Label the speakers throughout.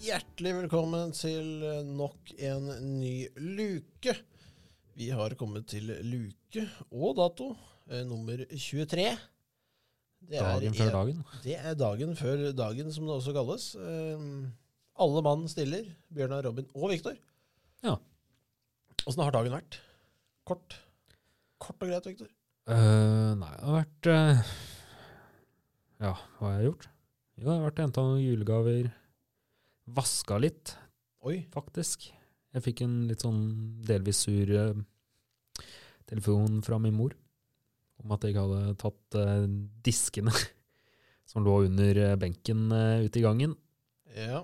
Speaker 1: Hjertelig velkommen til nok en ny luke. Vi har kommet til luke og dato eh, nummer 23. Det
Speaker 2: Dagen før dagen.
Speaker 1: Det er dagen før dagen, som det også kalles. Eh, alle mann stiller. Bjørnar, Robin og Viktor.
Speaker 2: Ja.
Speaker 1: Åssen har dagen vært? Kort. Kort og greit, Viktor.
Speaker 2: Eh, nei, det har vært eh, Ja, hva har jeg gjort? Jo, jeg har vært og henta noen julegaver. Vaska litt,
Speaker 1: Oi.
Speaker 2: faktisk. Jeg fikk en litt sånn delvis sur eh, telefon fra min mor om at jeg ikke hadde tatt eh, diskene som lå under eh, benken eh, ute i gangen.
Speaker 1: Ja.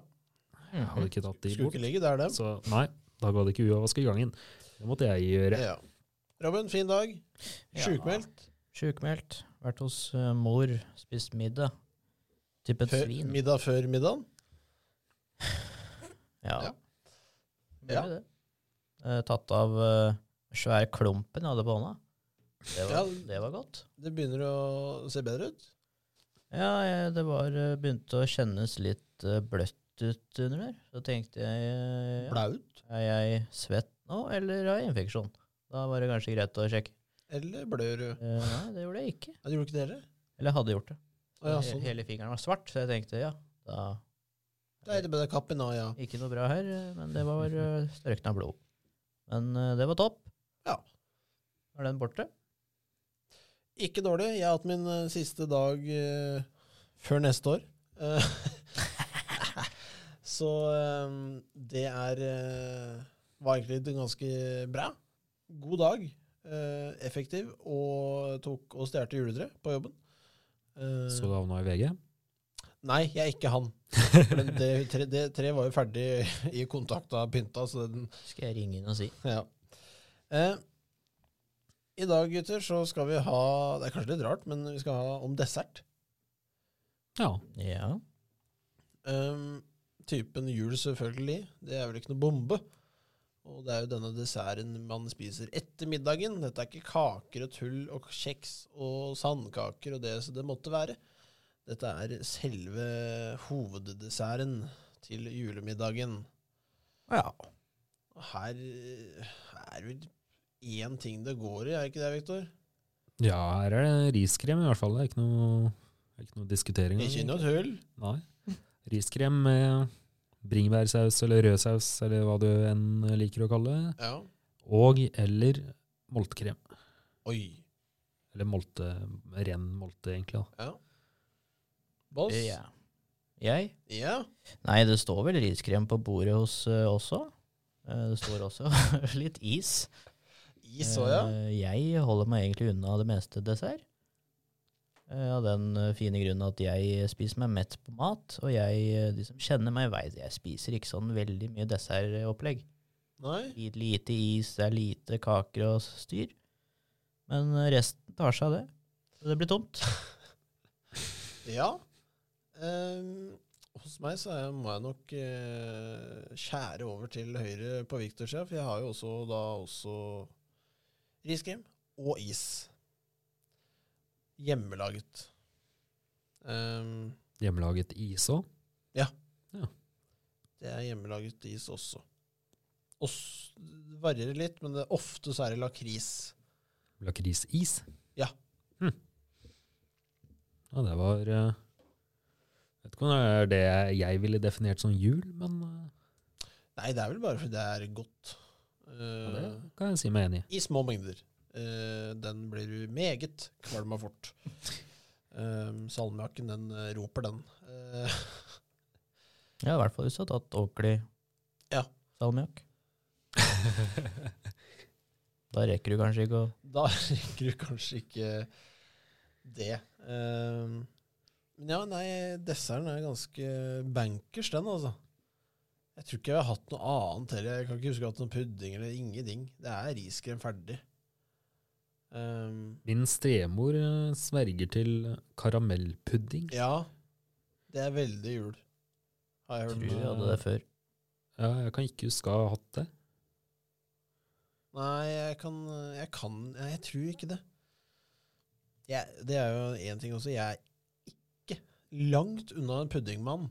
Speaker 2: Jeg
Speaker 3: Mm.
Speaker 2: hadde ikke tatt de
Speaker 1: Skulle
Speaker 2: bort.
Speaker 1: ikke ligge der, dem.
Speaker 2: Så nei, da ga det ikke uavask i gangen. Det måtte jeg gjøre.
Speaker 1: Ja. Robin, fin dag. Sjukmeldt.
Speaker 3: Sjukmeldt. Vært hos eh, mor, spist middag. Typ et
Speaker 1: Før-
Speaker 3: svin.
Speaker 1: Middag før middagen.
Speaker 3: Ja.
Speaker 1: Ja.
Speaker 3: Ble
Speaker 1: Ja.
Speaker 3: det. Eh, tatt av uh, svær klumpen jeg hadde på hånda. Det var,
Speaker 1: Ja.
Speaker 3: det var godt.
Speaker 1: Det begynner å se bedre ut.
Speaker 3: Ja, jeg, det var, eh, begynte å kjennes litt eh, bløtt ut under der. Så tenkte jeg eh, ja,
Speaker 1: Blaut
Speaker 3: Er jeg svett nå, eller har jeg infeksjon? Da var det kanskje greit å sjekke.
Speaker 1: eller blør du?
Speaker 3: Eh, nei, det gjorde jeg ikke.
Speaker 1: Nei, det gjorde ikke dere?
Speaker 3: Eller hadde gjort det.
Speaker 1: Å, ja, sånn.
Speaker 3: Hele fingeren var svart, så jeg tenkte ja, da
Speaker 1: Nei, det ble kappen nå, ja.
Speaker 3: Ikke noe bra her, eh, men det var eh, strøkna blod. Men eh, det var topp.
Speaker 1: Ja.
Speaker 3: Er den borte?
Speaker 1: Ikke dårlig. Jeg har hatt min eh, siste dag eh, før neste år. Eh, så eh, det er eh, Var egentlig ganske bra. God dag. eh, effektiv. Og tok og stjal juletre på jobben. Eh,
Speaker 2: Så det havna i VG.
Speaker 1: Nei, jeg er ikke han. For den- det treet det, treet var jo ferdig i kontakta pynta, så den
Speaker 3: Skal jeg ringe inn og si.
Speaker 1: Ja. Eh, I dag, gutter, så skal vi ha Det er kanskje litt rart, men vi skal ha om dessert.
Speaker 2: Ja.
Speaker 3: Ja.
Speaker 1: Um, typen jul, selvfølgelig. Det er vel ikke noe bombe. Og det er jo denne desserten man spiser etter middagen. Dette er ikke kaker og tull og kjeks og sandkaker og det som det måtte være. Dette er selve hoveddesserten til julemiddagen.
Speaker 3: ja.
Speaker 1: Og her eh, er vel én ting det går i, er ikke det, Viktor?
Speaker 2: Ja, her er det riskrem i hvert fall. Det er ikke noe, det er ikke noe diskutering.
Speaker 1: Ikke noe tull.
Speaker 2: Nei. Riskrem med bringebærsaus eller rødsaus, eller hva du enn liker å kalle det.
Speaker 1: Ja.
Speaker 2: Og eller moltkrem.
Speaker 1: Oi.
Speaker 2: Eller molte, ren molte, egentlig. Da.
Speaker 1: Boss?
Speaker 3: ja. Jeg?
Speaker 1: Ja.
Speaker 3: Nei, det står vel riskrem på bordet hos eh, også. Eh, det står også litt is.
Speaker 1: Is òg, ja.
Speaker 3: Eh, jeg holder meg egentlig unna det meste dessert. Eh, Av den eh, fine grunnen at jeg spiser meg mett på mat, og jeg, eh, de som kjenner meg, vet jeg spiser ikke sånn veldig mye dessertopplegg.
Speaker 1: Nei?
Speaker 3: Litt lite is, det er lite kaker og styr. Men resten tar seg av det. Så det blir tomt.
Speaker 1: Ja. Ehm, hos meg så er, må jeg nok eh, skjære over til høyre på Victor sida, for jeg har jo også da også riskrem og is. Hjemmelaget. Ehm,
Speaker 2: Hjemmelaget is òg.
Speaker 1: det er hjemmelaget is også. Oss, det varierer litt, men det, ofte så er det lakris.
Speaker 2: Lakrisis.
Speaker 1: Ja.
Speaker 2: Hm. Ja, det var eh, Vet ikke om det er det jeg ville definert som jul, men eh,
Speaker 1: Nei, det er vel bare fordi det er godt.
Speaker 2: ja, det
Speaker 1: Eh,
Speaker 2: kan jeg si meg enig i.
Speaker 1: I små mengder. Eh, den blir du meget kvalm av fort. Um, salmiakken, den eh, roper, den. Eh,
Speaker 3: Ja, i hvert fall hvis du har tatt ordentlig
Speaker 1: Ja.
Speaker 3: salmiakk. Da rekker du kanskje ikke å
Speaker 1: da rekker du kanskje ikke det. Um, men ja, nei, desserten er ganske bankers, den, altså. Jeg tror ikke jeg har hatt noe annet heller. Jeg kan ikke huske at noen pudding eller ingenting. Det er riskrem ferdig. Um,
Speaker 2: Min stemor eh, sverger til karamellpudding.
Speaker 1: ja, det er veldig jul. Har jeg
Speaker 3: Tror
Speaker 1: hørt.
Speaker 3: vi hadde det før.
Speaker 2: Ja, jeg kan ikke huske å ha hatt det.
Speaker 1: Nei, jeg kan Jeg, kan, nei, jeg tror ikke det. Jeg, det er jo én ting også. Jeg er ikke langt unna en puddingmann.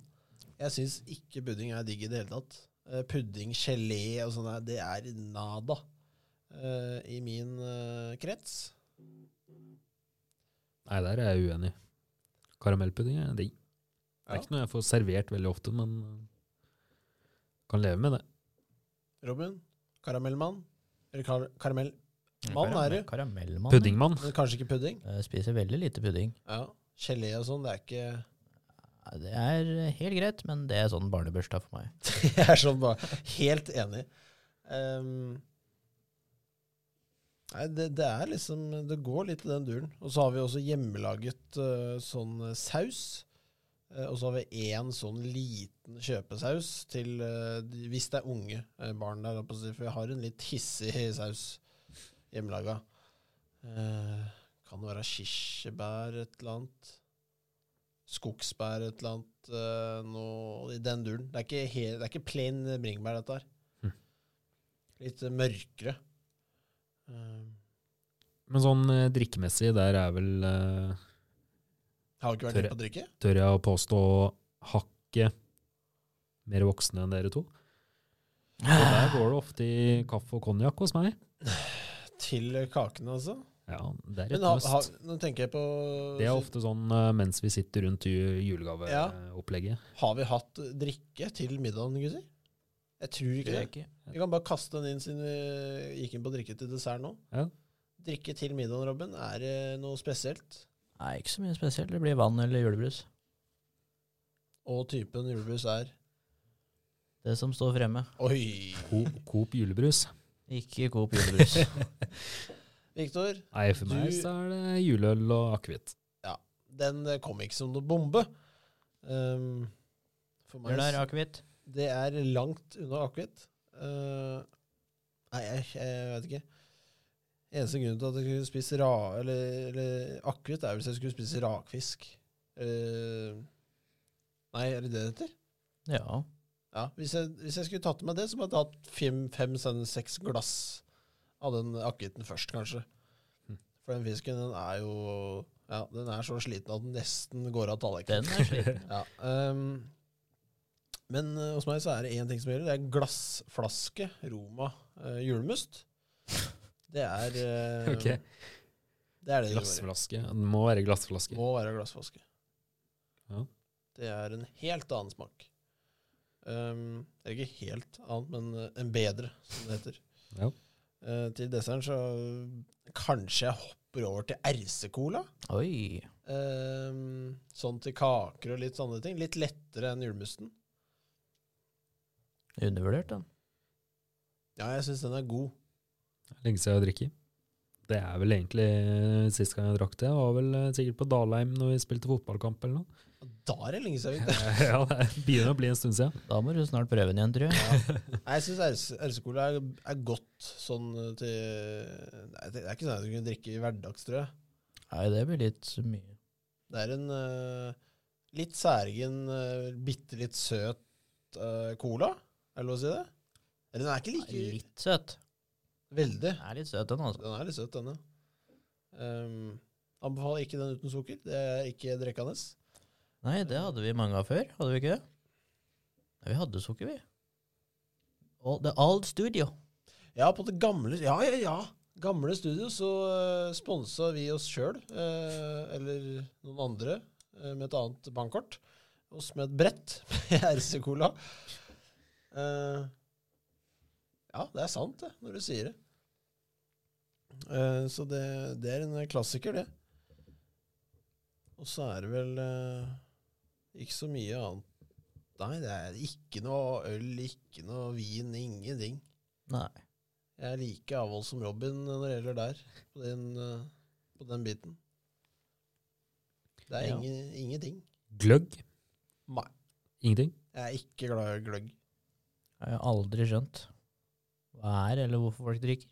Speaker 1: Jeg syns ikke pudding er digg i det hele tatt. Eh, pudding, gelé og sånn, der, det er nada eh, i min eh, krets.
Speaker 2: Nei, der er jeg uenig. Karamellpudding er digg. Det er
Speaker 1: Ja.
Speaker 2: ikke noe jeg får servert veldig ofte, men eh, kan leve med det.
Speaker 1: Robin, karamellmann. Eller kar karamell... Mann er du.
Speaker 3: Karamellmann.
Speaker 2: Puddingmann.
Speaker 1: Men kanskje ikke pudding?
Speaker 3: Jeg Eh, spiser veldig lite pudding.
Speaker 1: Ja. Gelé og sånn, det er ikke
Speaker 3: Ja, Det er helt greit, men det er sånn barnebursdag for meg.
Speaker 1: Jeg er sånn bare helt enig. Ehm, nei, det, det er liksom Det går litt i den duren. Og så har vi også hjemmelaget eh, sånn saus. Eh, og så har vi én sånn liten kjøpesaus til eh, de- hvis det er unge eh, barn der. holdt på å si, For vi har en litt hissig saus hjemmelaga. Eh, kan det være kirsebær, et eller annet? skogsbær, et eller annet, eh, noe i den duren. Det er ikke, he, det er ikke plain bringebær, dette her.
Speaker 2: Mm.
Speaker 1: Litt eh, mørkere. Eh,
Speaker 2: Men sånn eh, drikkemessig, der er vel eh,
Speaker 1: har ikke vært
Speaker 2: Tørre.
Speaker 1: inne på drikke?
Speaker 2: tør jeg å påstå hakket mer voksne enn dere to. Og der går det ofte i kaffe og konjakk hos meg.
Speaker 1: Til kakene, altså?
Speaker 2: Ja, det er
Speaker 1: Men
Speaker 2: et
Speaker 1: ha, ha,
Speaker 2: must.
Speaker 1: nå tenker jeg på
Speaker 2: Det er ofte sånn eh, mens vi sitter rundt i
Speaker 1: Ja.
Speaker 2: julegaveopplegget.
Speaker 1: Har vi hatt drikke til middagen, gutter? Jeg tror ikke det. Vi kan bare kaste den inn siden vi gikk inn på drikke til dessert nå.
Speaker 2: Ja.
Speaker 1: Drikke til middagen, Robin, er det noe spesielt?
Speaker 3: Nei, ikke så mye spesielt. Det blir vann eller julebrus.
Speaker 1: Og typen julebrus er
Speaker 3: Det som står fremme.
Speaker 1: Oi!
Speaker 2: Co Coop julebrus.
Speaker 3: Ikke Coop julebrus.
Speaker 1: Victor,
Speaker 2: Nei, for meg
Speaker 1: Du-
Speaker 2: så er det juleøl og akevitt.
Speaker 1: den eh, kom ikke som noe bombe. Ehm, for meg
Speaker 3: Gjør det her,
Speaker 1: så-
Speaker 3: akevitt.
Speaker 1: det er langt unna akevitt. Eh, nei, jeg, jeg vet ikke. Eneste grunnen til at jeg skulle spise ra, eller, eller akevitt, er hvis jeg skulle spise rakfisk. Eh, nei, er det det det heter?
Speaker 3: Ja.
Speaker 1: Ja, hvis jeg, hvis jeg skulle tatt med det, så måtte jeg hatt fem, fem sånne seks glass av den akevitten først, kanskje.
Speaker 3: Hm.
Speaker 2: Mm.
Speaker 1: For den fisken, den er jo Ja, den er så sliten at den nesten går av tallerkenen.
Speaker 3: Den er slik.
Speaker 1: Ja, ehm, men eh, hos meg så er det én ting som gjelder. Det er glassflaske Roma eh, julemust. Det er eh,
Speaker 2: Ok.
Speaker 1: Det er det det gjør.
Speaker 2: Glassflaske. Det må være glassflaske.
Speaker 1: Må være glassflaske.
Speaker 2: Ja.
Speaker 1: Det er en helt annen smak. Ehm, det er ikke helt annet, men eh, en bedre, som det heter.
Speaker 2: Ja.
Speaker 1: Eh, til desserten så kanskje jeg hopper over til RC-cola.
Speaker 3: Oi.
Speaker 1: Ehm, sånn til kaker og litt sånne ting. Litt lettere enn julemusten.
Speaker 3: Undervurdert, den.
Speaker 1: Ja, jeg syns den er god.
Speaker 2: Lenge siden jeg har drikket. Det er vel egentlig eh, sist gang jeg drakk det. Var vel eh, sikkert på Dalheim når vi spilte fotballkamp eller noe.
Speaker 1: Da er det lenge siden. vi-
Speaker 2: ja, det begynner å bli en stund siden.
Speaker 3: Da må du snart prøve den igjen, tror jeg.
Speaker 1: Nei, Jeg syns RC-cola er, er godt sånn eh, til Nei, Det er ikke sånn at du kunne drikke i hverdags, tror jeg.
Speaker 3: Nei, det blir litt mye.
Speaker 1: Det er en eh, litt særegen, uh, bitte litt søt eh, cola. Er det lov å si det? Eller den er ikke like
Speaker 3: Litt søt.
Speaker 1: Veldig.
Speaker 3: Den er litt søt, den, altså.
Speaker 1: Den er litt søt, denne. Um, anbefaler ikke den uten sukker. Det er ikke drikkende.
Speaker 3: Nei, det hadde vi mange av før, hadde vi ikke det? Nei, vi hadde sukker, vi. All, the Old Studio.
Speaker 1: Ja, på det gamle Ja, ja, ja. Gamle studio så uh, sponsa vi oss sjøl, eller noen andre, eh, med et annet bankkort. Oss med et brett med RC-cola. Eh, ja, det er sant, det, når du sier det. Eh, så det, det er en klassiker, det. Og så er det vel eh, ikke så mye annet Nei, det er ikke noe øl, ikke noe vin, ingenting.
Speaker 3: Nei.
Speaker 1: Jeg er like avholds som Robin når det gjelder der, på den, eh, på den biten. Det er
Speaker 3: Ja.
Speaker 1: ingen, ingenting.
Speaker 2: Gløgg?
Speaker 1: Nei.
Speaker 2: Ingenting?
Speaker 1: Jeg er ikke glad i gløgg.
Speaker 3: Jeg har jeg aldri skjønt hva er, eller hvorfor folk drikker.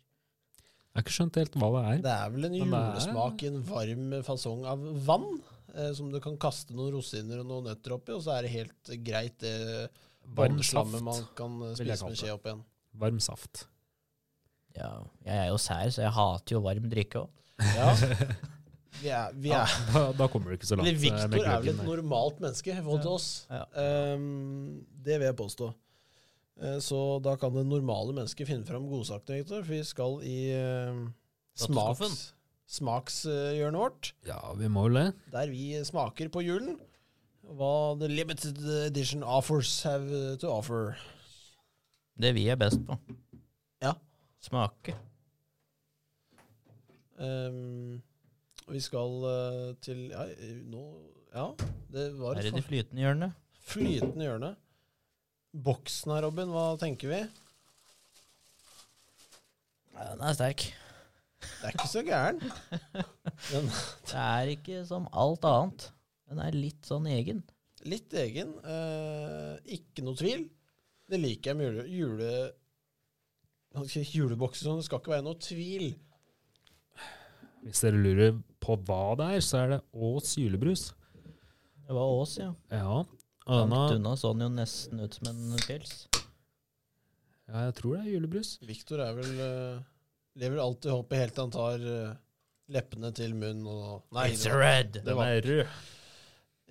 Speaker 2: Jeg har ikke skjønt helt hva det er.
Speaker 1: Det er vel en
Speaker 2: Men det er-
Speaker 1: julesmak i en varm fasong av vann, eh, som du kan kaste noen rosiner og noen nøtter oppi, og så er det helt greit det
Speaker 2: Varm
Speaker 1: vannslammet man
Speaker 2: saft.
Speaker 1: kan eh,
Speaker 2: vil jeg
Speaker 1: spise med
Speaker 2: kalle
Speaker 1: skje opp igjen.
Speaker 2: Varm saft.
Speaker 3: Ja, jeg er jo sær, så jeg hater jo varm drikke òg.
Speaker 1: Ja. Vi er, vi
Speaker 2: Ja,
Speaker 1: er,
Speaker 2: da, da kommer du ikke så langt.
Speaker 1: eller
Speaker 2: eh,
Speaker 1: Viktor
Speaker 2: med
Speaker 1: er vel
Speaker 2: gløggen
Speaker 1: et
Speaker 2: der.
Speaker 1: normalt menneske i forhold til oss.
Speaker 3: Ja.
Speaker 1: Ehm, det vil jeg påstå. Eh, Så da kan det normale mennesket finne fram godsakene, Victor, for vi skal i eh,
Speaker 3: Skatteskuffen.
Speaker 1: smaks, smakshjørnet vårt,
Speaker 2: Ja, vi må vel det.
Speaker 1: der vi smaker på julen. Hva the limited edition offers have to offer.
Speaker 3: Det vi er best på.
Speaker 1: Ja.
Speaker 3: Smake.
Speaker 1: Ehm, og vi skal eh, til ja, eh, nå, ja, det var
Speaker 3: Her
Speaker 1: et
Speaker 3: i det
Speaker 1: fa-
Speaker 3: flytende hjørnet.
Speaker 1: flytende hjørne. Boksen her, Robin, hva tenker vi?
Speaker 3: Ja, den er sterk.
Speaker 1: Det er ikke så gæren.
Speaker 3: Det er ikke som alt annet. Den er litt sånn egen.
Speaker 1: Litt egen. Eh, ikke noe tvil. Det liker jeg med jule, jule, Hva skal jeg si, julebokser. Sånn. Det skal ikke være noe tvil.
Speaker 2: Hvis dere lurer på hva det er, så er det Ås julebrus.
Speaker 3: Det var Ås, ja.
Speaker 2: Ja, og denne
Speaker 3: Langt unna så den jo nesten ut som en pils.
Speaker 2: Ja, jeg tror det er julebrus.
Speaker 1: Viktor er vel eh, Lever alltid i håpet helt til han tar eh, leppene til munnen og Nei, det var
Speaker 3: red!
Speaker 1: Det
Speaker 2: Den
Speaker 1: var-
Speaker 2: er rød.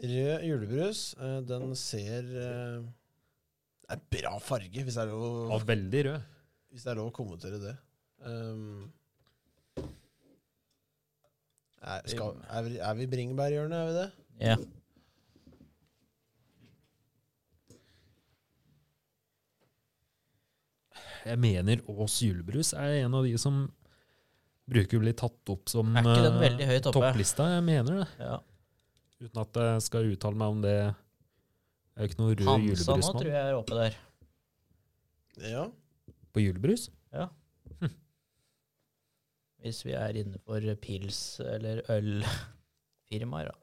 Speaker 1: rød julebrus. Eh, den ser eh, Det er bra farge, hvis det er lov,
Speaker 2: Ja, veldig rød.
Speaker 1: hvis det er lov å kommentere det. Um, er, skal, er, vi, er vi i bringebærhjørnet, er vi det?
Speaker 3: Ja.
Speaker 2: Jeg mener Ås julebrus er en av de som bruker å bli tatt opp som
Speaker 3: Er ikke den
Speaker 2: eh,
Speaker 3: veldig høyt oppe?
Speaker 2: topplista. Jeg mener det.
Speaker 3: ja.
Speaker 2: Uten at jeg skal uttale meg om det. Det er jo ikke noe rød
Speaker 3: Hansa nå tror
Speaker 2: julebrusmann
Speaker 3: jeg er oppe der.
Speaker 1: Ja.
Speaker 2: på julebrus.
Speaker 3: Hvis vi er inne for pils eller ølfirmaer, da.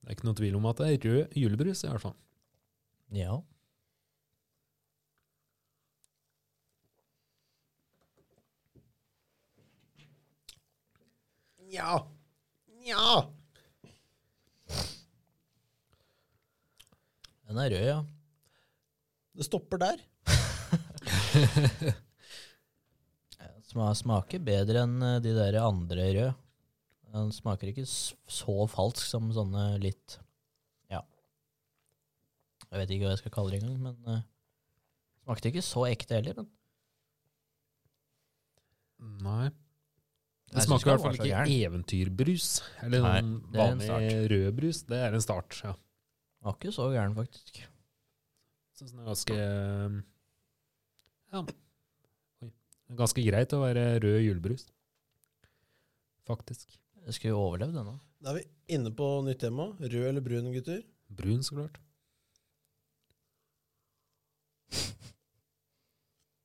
Speaker 2: Det er ikke noe tvil om at det er rød julebrus, i hvert fall.
Speaker 3: Ja.
Speaker 1: Nja. Nja.
Speaker 3: Den er rød, ja.
Speaker 1: Det stopper der.
Speaker 3: Sma smaker bedre enn eh, de der andre røde. Den smaker ikke s- så falsk som sånne litt Ja. Jeg vet ikke hva jeg skal kalle det engang, men eh, Smakte ikke så ekte heller, men
Speaker 2: Nei. Det
Speaker 3: Jeg synes
Speaker 2: smaker i
Speaker 3: ikke den
Speaker 2: hvert
Speaker 3: var
Speaker 2: fall
Speaker 3: så
Speaker 2: ikke eventyrbrus. Eller
Speaker 3: Nei,
Speaker 2: sånn
Speaker 3: det er en
Speaker 2: vanlig rød brus. Det er en start, ja.
Speaker 3: var ikke så gæren, faktisk.
Speaker 2: Syns den Sånn er ganske Ja. Oi. Ganske greit å være rød julebrus, faktisk.
Speaker 3: Jeg skulle jo overlevd denne.
Speaker 1: Da er vi inne på nytt tema. Rød eller brun, gutter?
Speaker 2: Brun, så klart.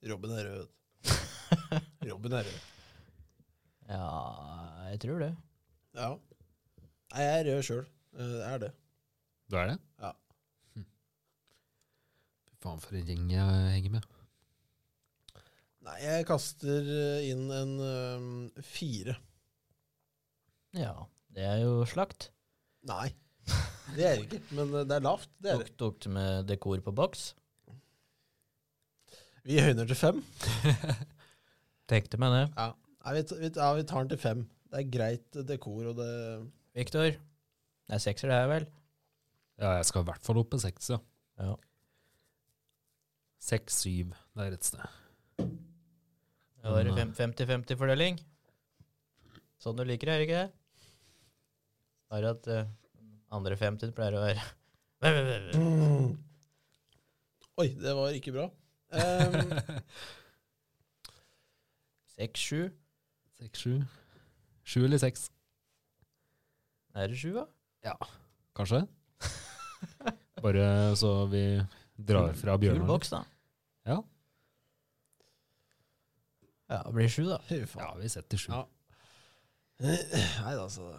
Speaker 1: Robin er rød. Robin er rød.
Speaker 3: Ja, jeg tror det.
Speaker 1: Ja. Nei, jeg er rød sjøl. Det er det.
Speaker 2: Du er det?
Speaker 1: Ja.
Speaker 2: Hm. Fy faen, for en gjeng jeg henger med.
Speaker 1: Nei, jeg kaster eh, inn en øhm, fire.
Speaker 3: Ja. Det er jo slakt.
Speaker 1: Nei, det er det ikke. Men eh, det er lavt. Det er det.
Speaker 3: Tok, tok det med dekor på boks.
Speaker 1: Vi høyner til fem.
Speaker 3: Tenkte meg det.
Speaker 1: Nei, vi, t- vi, t- ja, vi tar den til fem. Det er greit eh, dekor, og det
Speaker 3: Viktor, det er sekser det her, vel?
Speaker 2: Ja, jeg skal i hvert fall opp på seks, ja.
Speaker 3: Ja.
Speaker 2: Seks, syv. Det er et sted.
Speaker 3: Det var 50-50-fordeling. Sånn du liker det, er det ikke det? Bare at eh, andre 50 pleier å være
Speaker 1: Mm. Oi, det var ikke bra. Ehm,
Speaker 3: 6-7.
Speaker 2: Seks, sju. Sju eller seks,
Speaker 3: Er det 7, da?
Speaker 2: kanskje? Bare så vi drar fra
Speaker 3: Kul
Speaker 2: Bjørnar.
Speaker 3: boks, da.
Speaker 2: Ja.
Speaker 3: Ja, det blir 7, da.
Speaker 1: Fy faen.
Speaker 2: Ja, vi setter sju.
Speaker 1: Ja. Nei da, altså.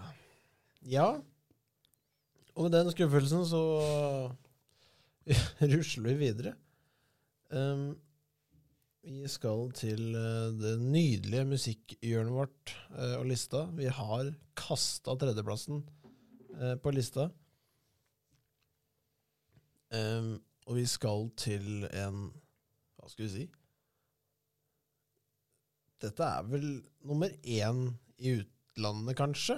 Speaker 1: Ja. Og med den skuffelsen så rusler vi videre. Ehm, vi skal til eh, det nydelige musikkhjørnet vårt eh, og lista. Vi har kasta tredjeplassen eh, på lista. Ehm, og vi skal til en Hva skal vi si? Dette er vel nummer én i utlandet, kanskje?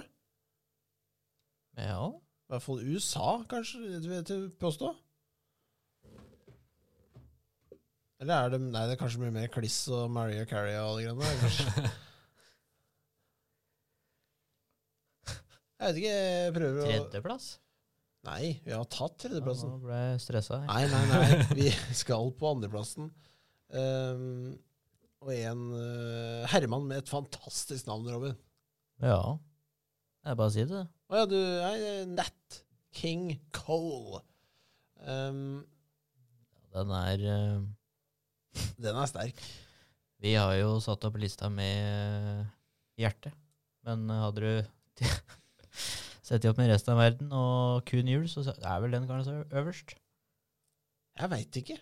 Speaker 3: Ja.
Speaker 1: I hvert fall USA, kanskje, du vet jeg påstå. Eller er det Nei, det er kanskje mye mer Kliss og Maria Carrie og alle greiene der. kanskje. Jeg vet ikke, jeg prøver å
Speaker 3: Tredjeplass?
Speaker 1: Nei, vi har tatt
Speaker 3: Ja,
Speaker 1: tredjeplassen.
Speaker 3: nå ble jeg stressa. her.
Speaker 1: Nei, nei, nei. Vi skal på andreplassen. Ehm, og en eh, herremann med et fantastisk navn, Robin.
Speaker 3: Ja. Jeg bare sier det.
Speaker 1: Å ja, du Nei, eh, Nat King Cole. Ehm,
Speaker 3: Den er eh,
Speaker 1: den er sterk.
Speaker 3: Vi har jo satt opp lista med hjertet. Men eh, hadde du sett de opp med resten av verden og kun jul, så er vel den kanskje øverst.
Speaker 1: Jeg veit ikke.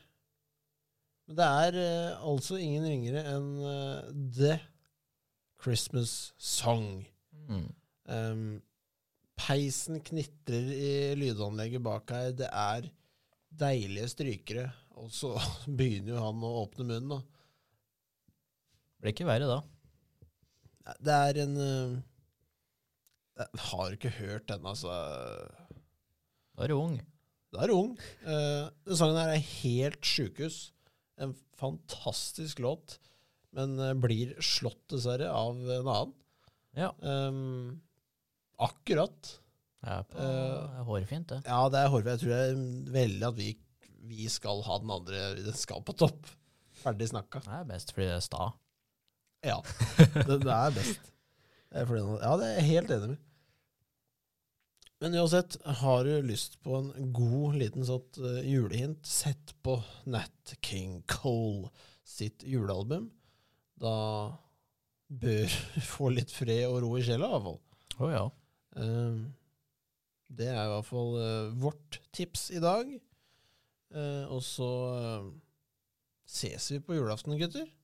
Speaker 1: Men det er eh, altså ingen ringere enn eh, The Christmas Song.
Speaker 3: Mm.
Speaker 1: Ehm, peisen knitrer i lydanlegget bak her. Det er deilige strykere. Og så begynner jo han å åpne munnen, da.
Speaker 3: Blir ikke verre da.
Speaker 1: Nei, Det er en eh, Jeg har ikke hørt den, altså.
Speaker 3: Da er du ung.
Speaker 1: Da er du ung. Eh, den sangen her er helt sjukehus. En fantastisk låt, men eh, blir slått, dessverre, av en annen.
Speaker 3: Ja.
Speaker 1: Ehm, akkurat.
Speaker 3: Jeg er på,
Speaker 1: Eh.
Speaker 3: det er hårfint, det.
Speaker 1: Ja, det er Horve. Jeg tror det er veldig at vi, vi skal ha den andre. Den skal på topp. Ferdig snakka.
Speaker 3: Det er best fordi det er sta.
Speaker 1: Ja, den er best. Det er fordi den- Ja, det er jeg helt enig med. Men uansett, har du lyst på en god liten sånn eh, julehint, sett på Nat King Cole sitt julealbum. Da bør du få litt fred og ro i sjela, i hvert fall.
Speaker 3: Å ja.
Speaker 1: Eh, Det er i hvert fall eh, vårt tips i dag. Eh, Og så eh, ses vi på julaften, gutter.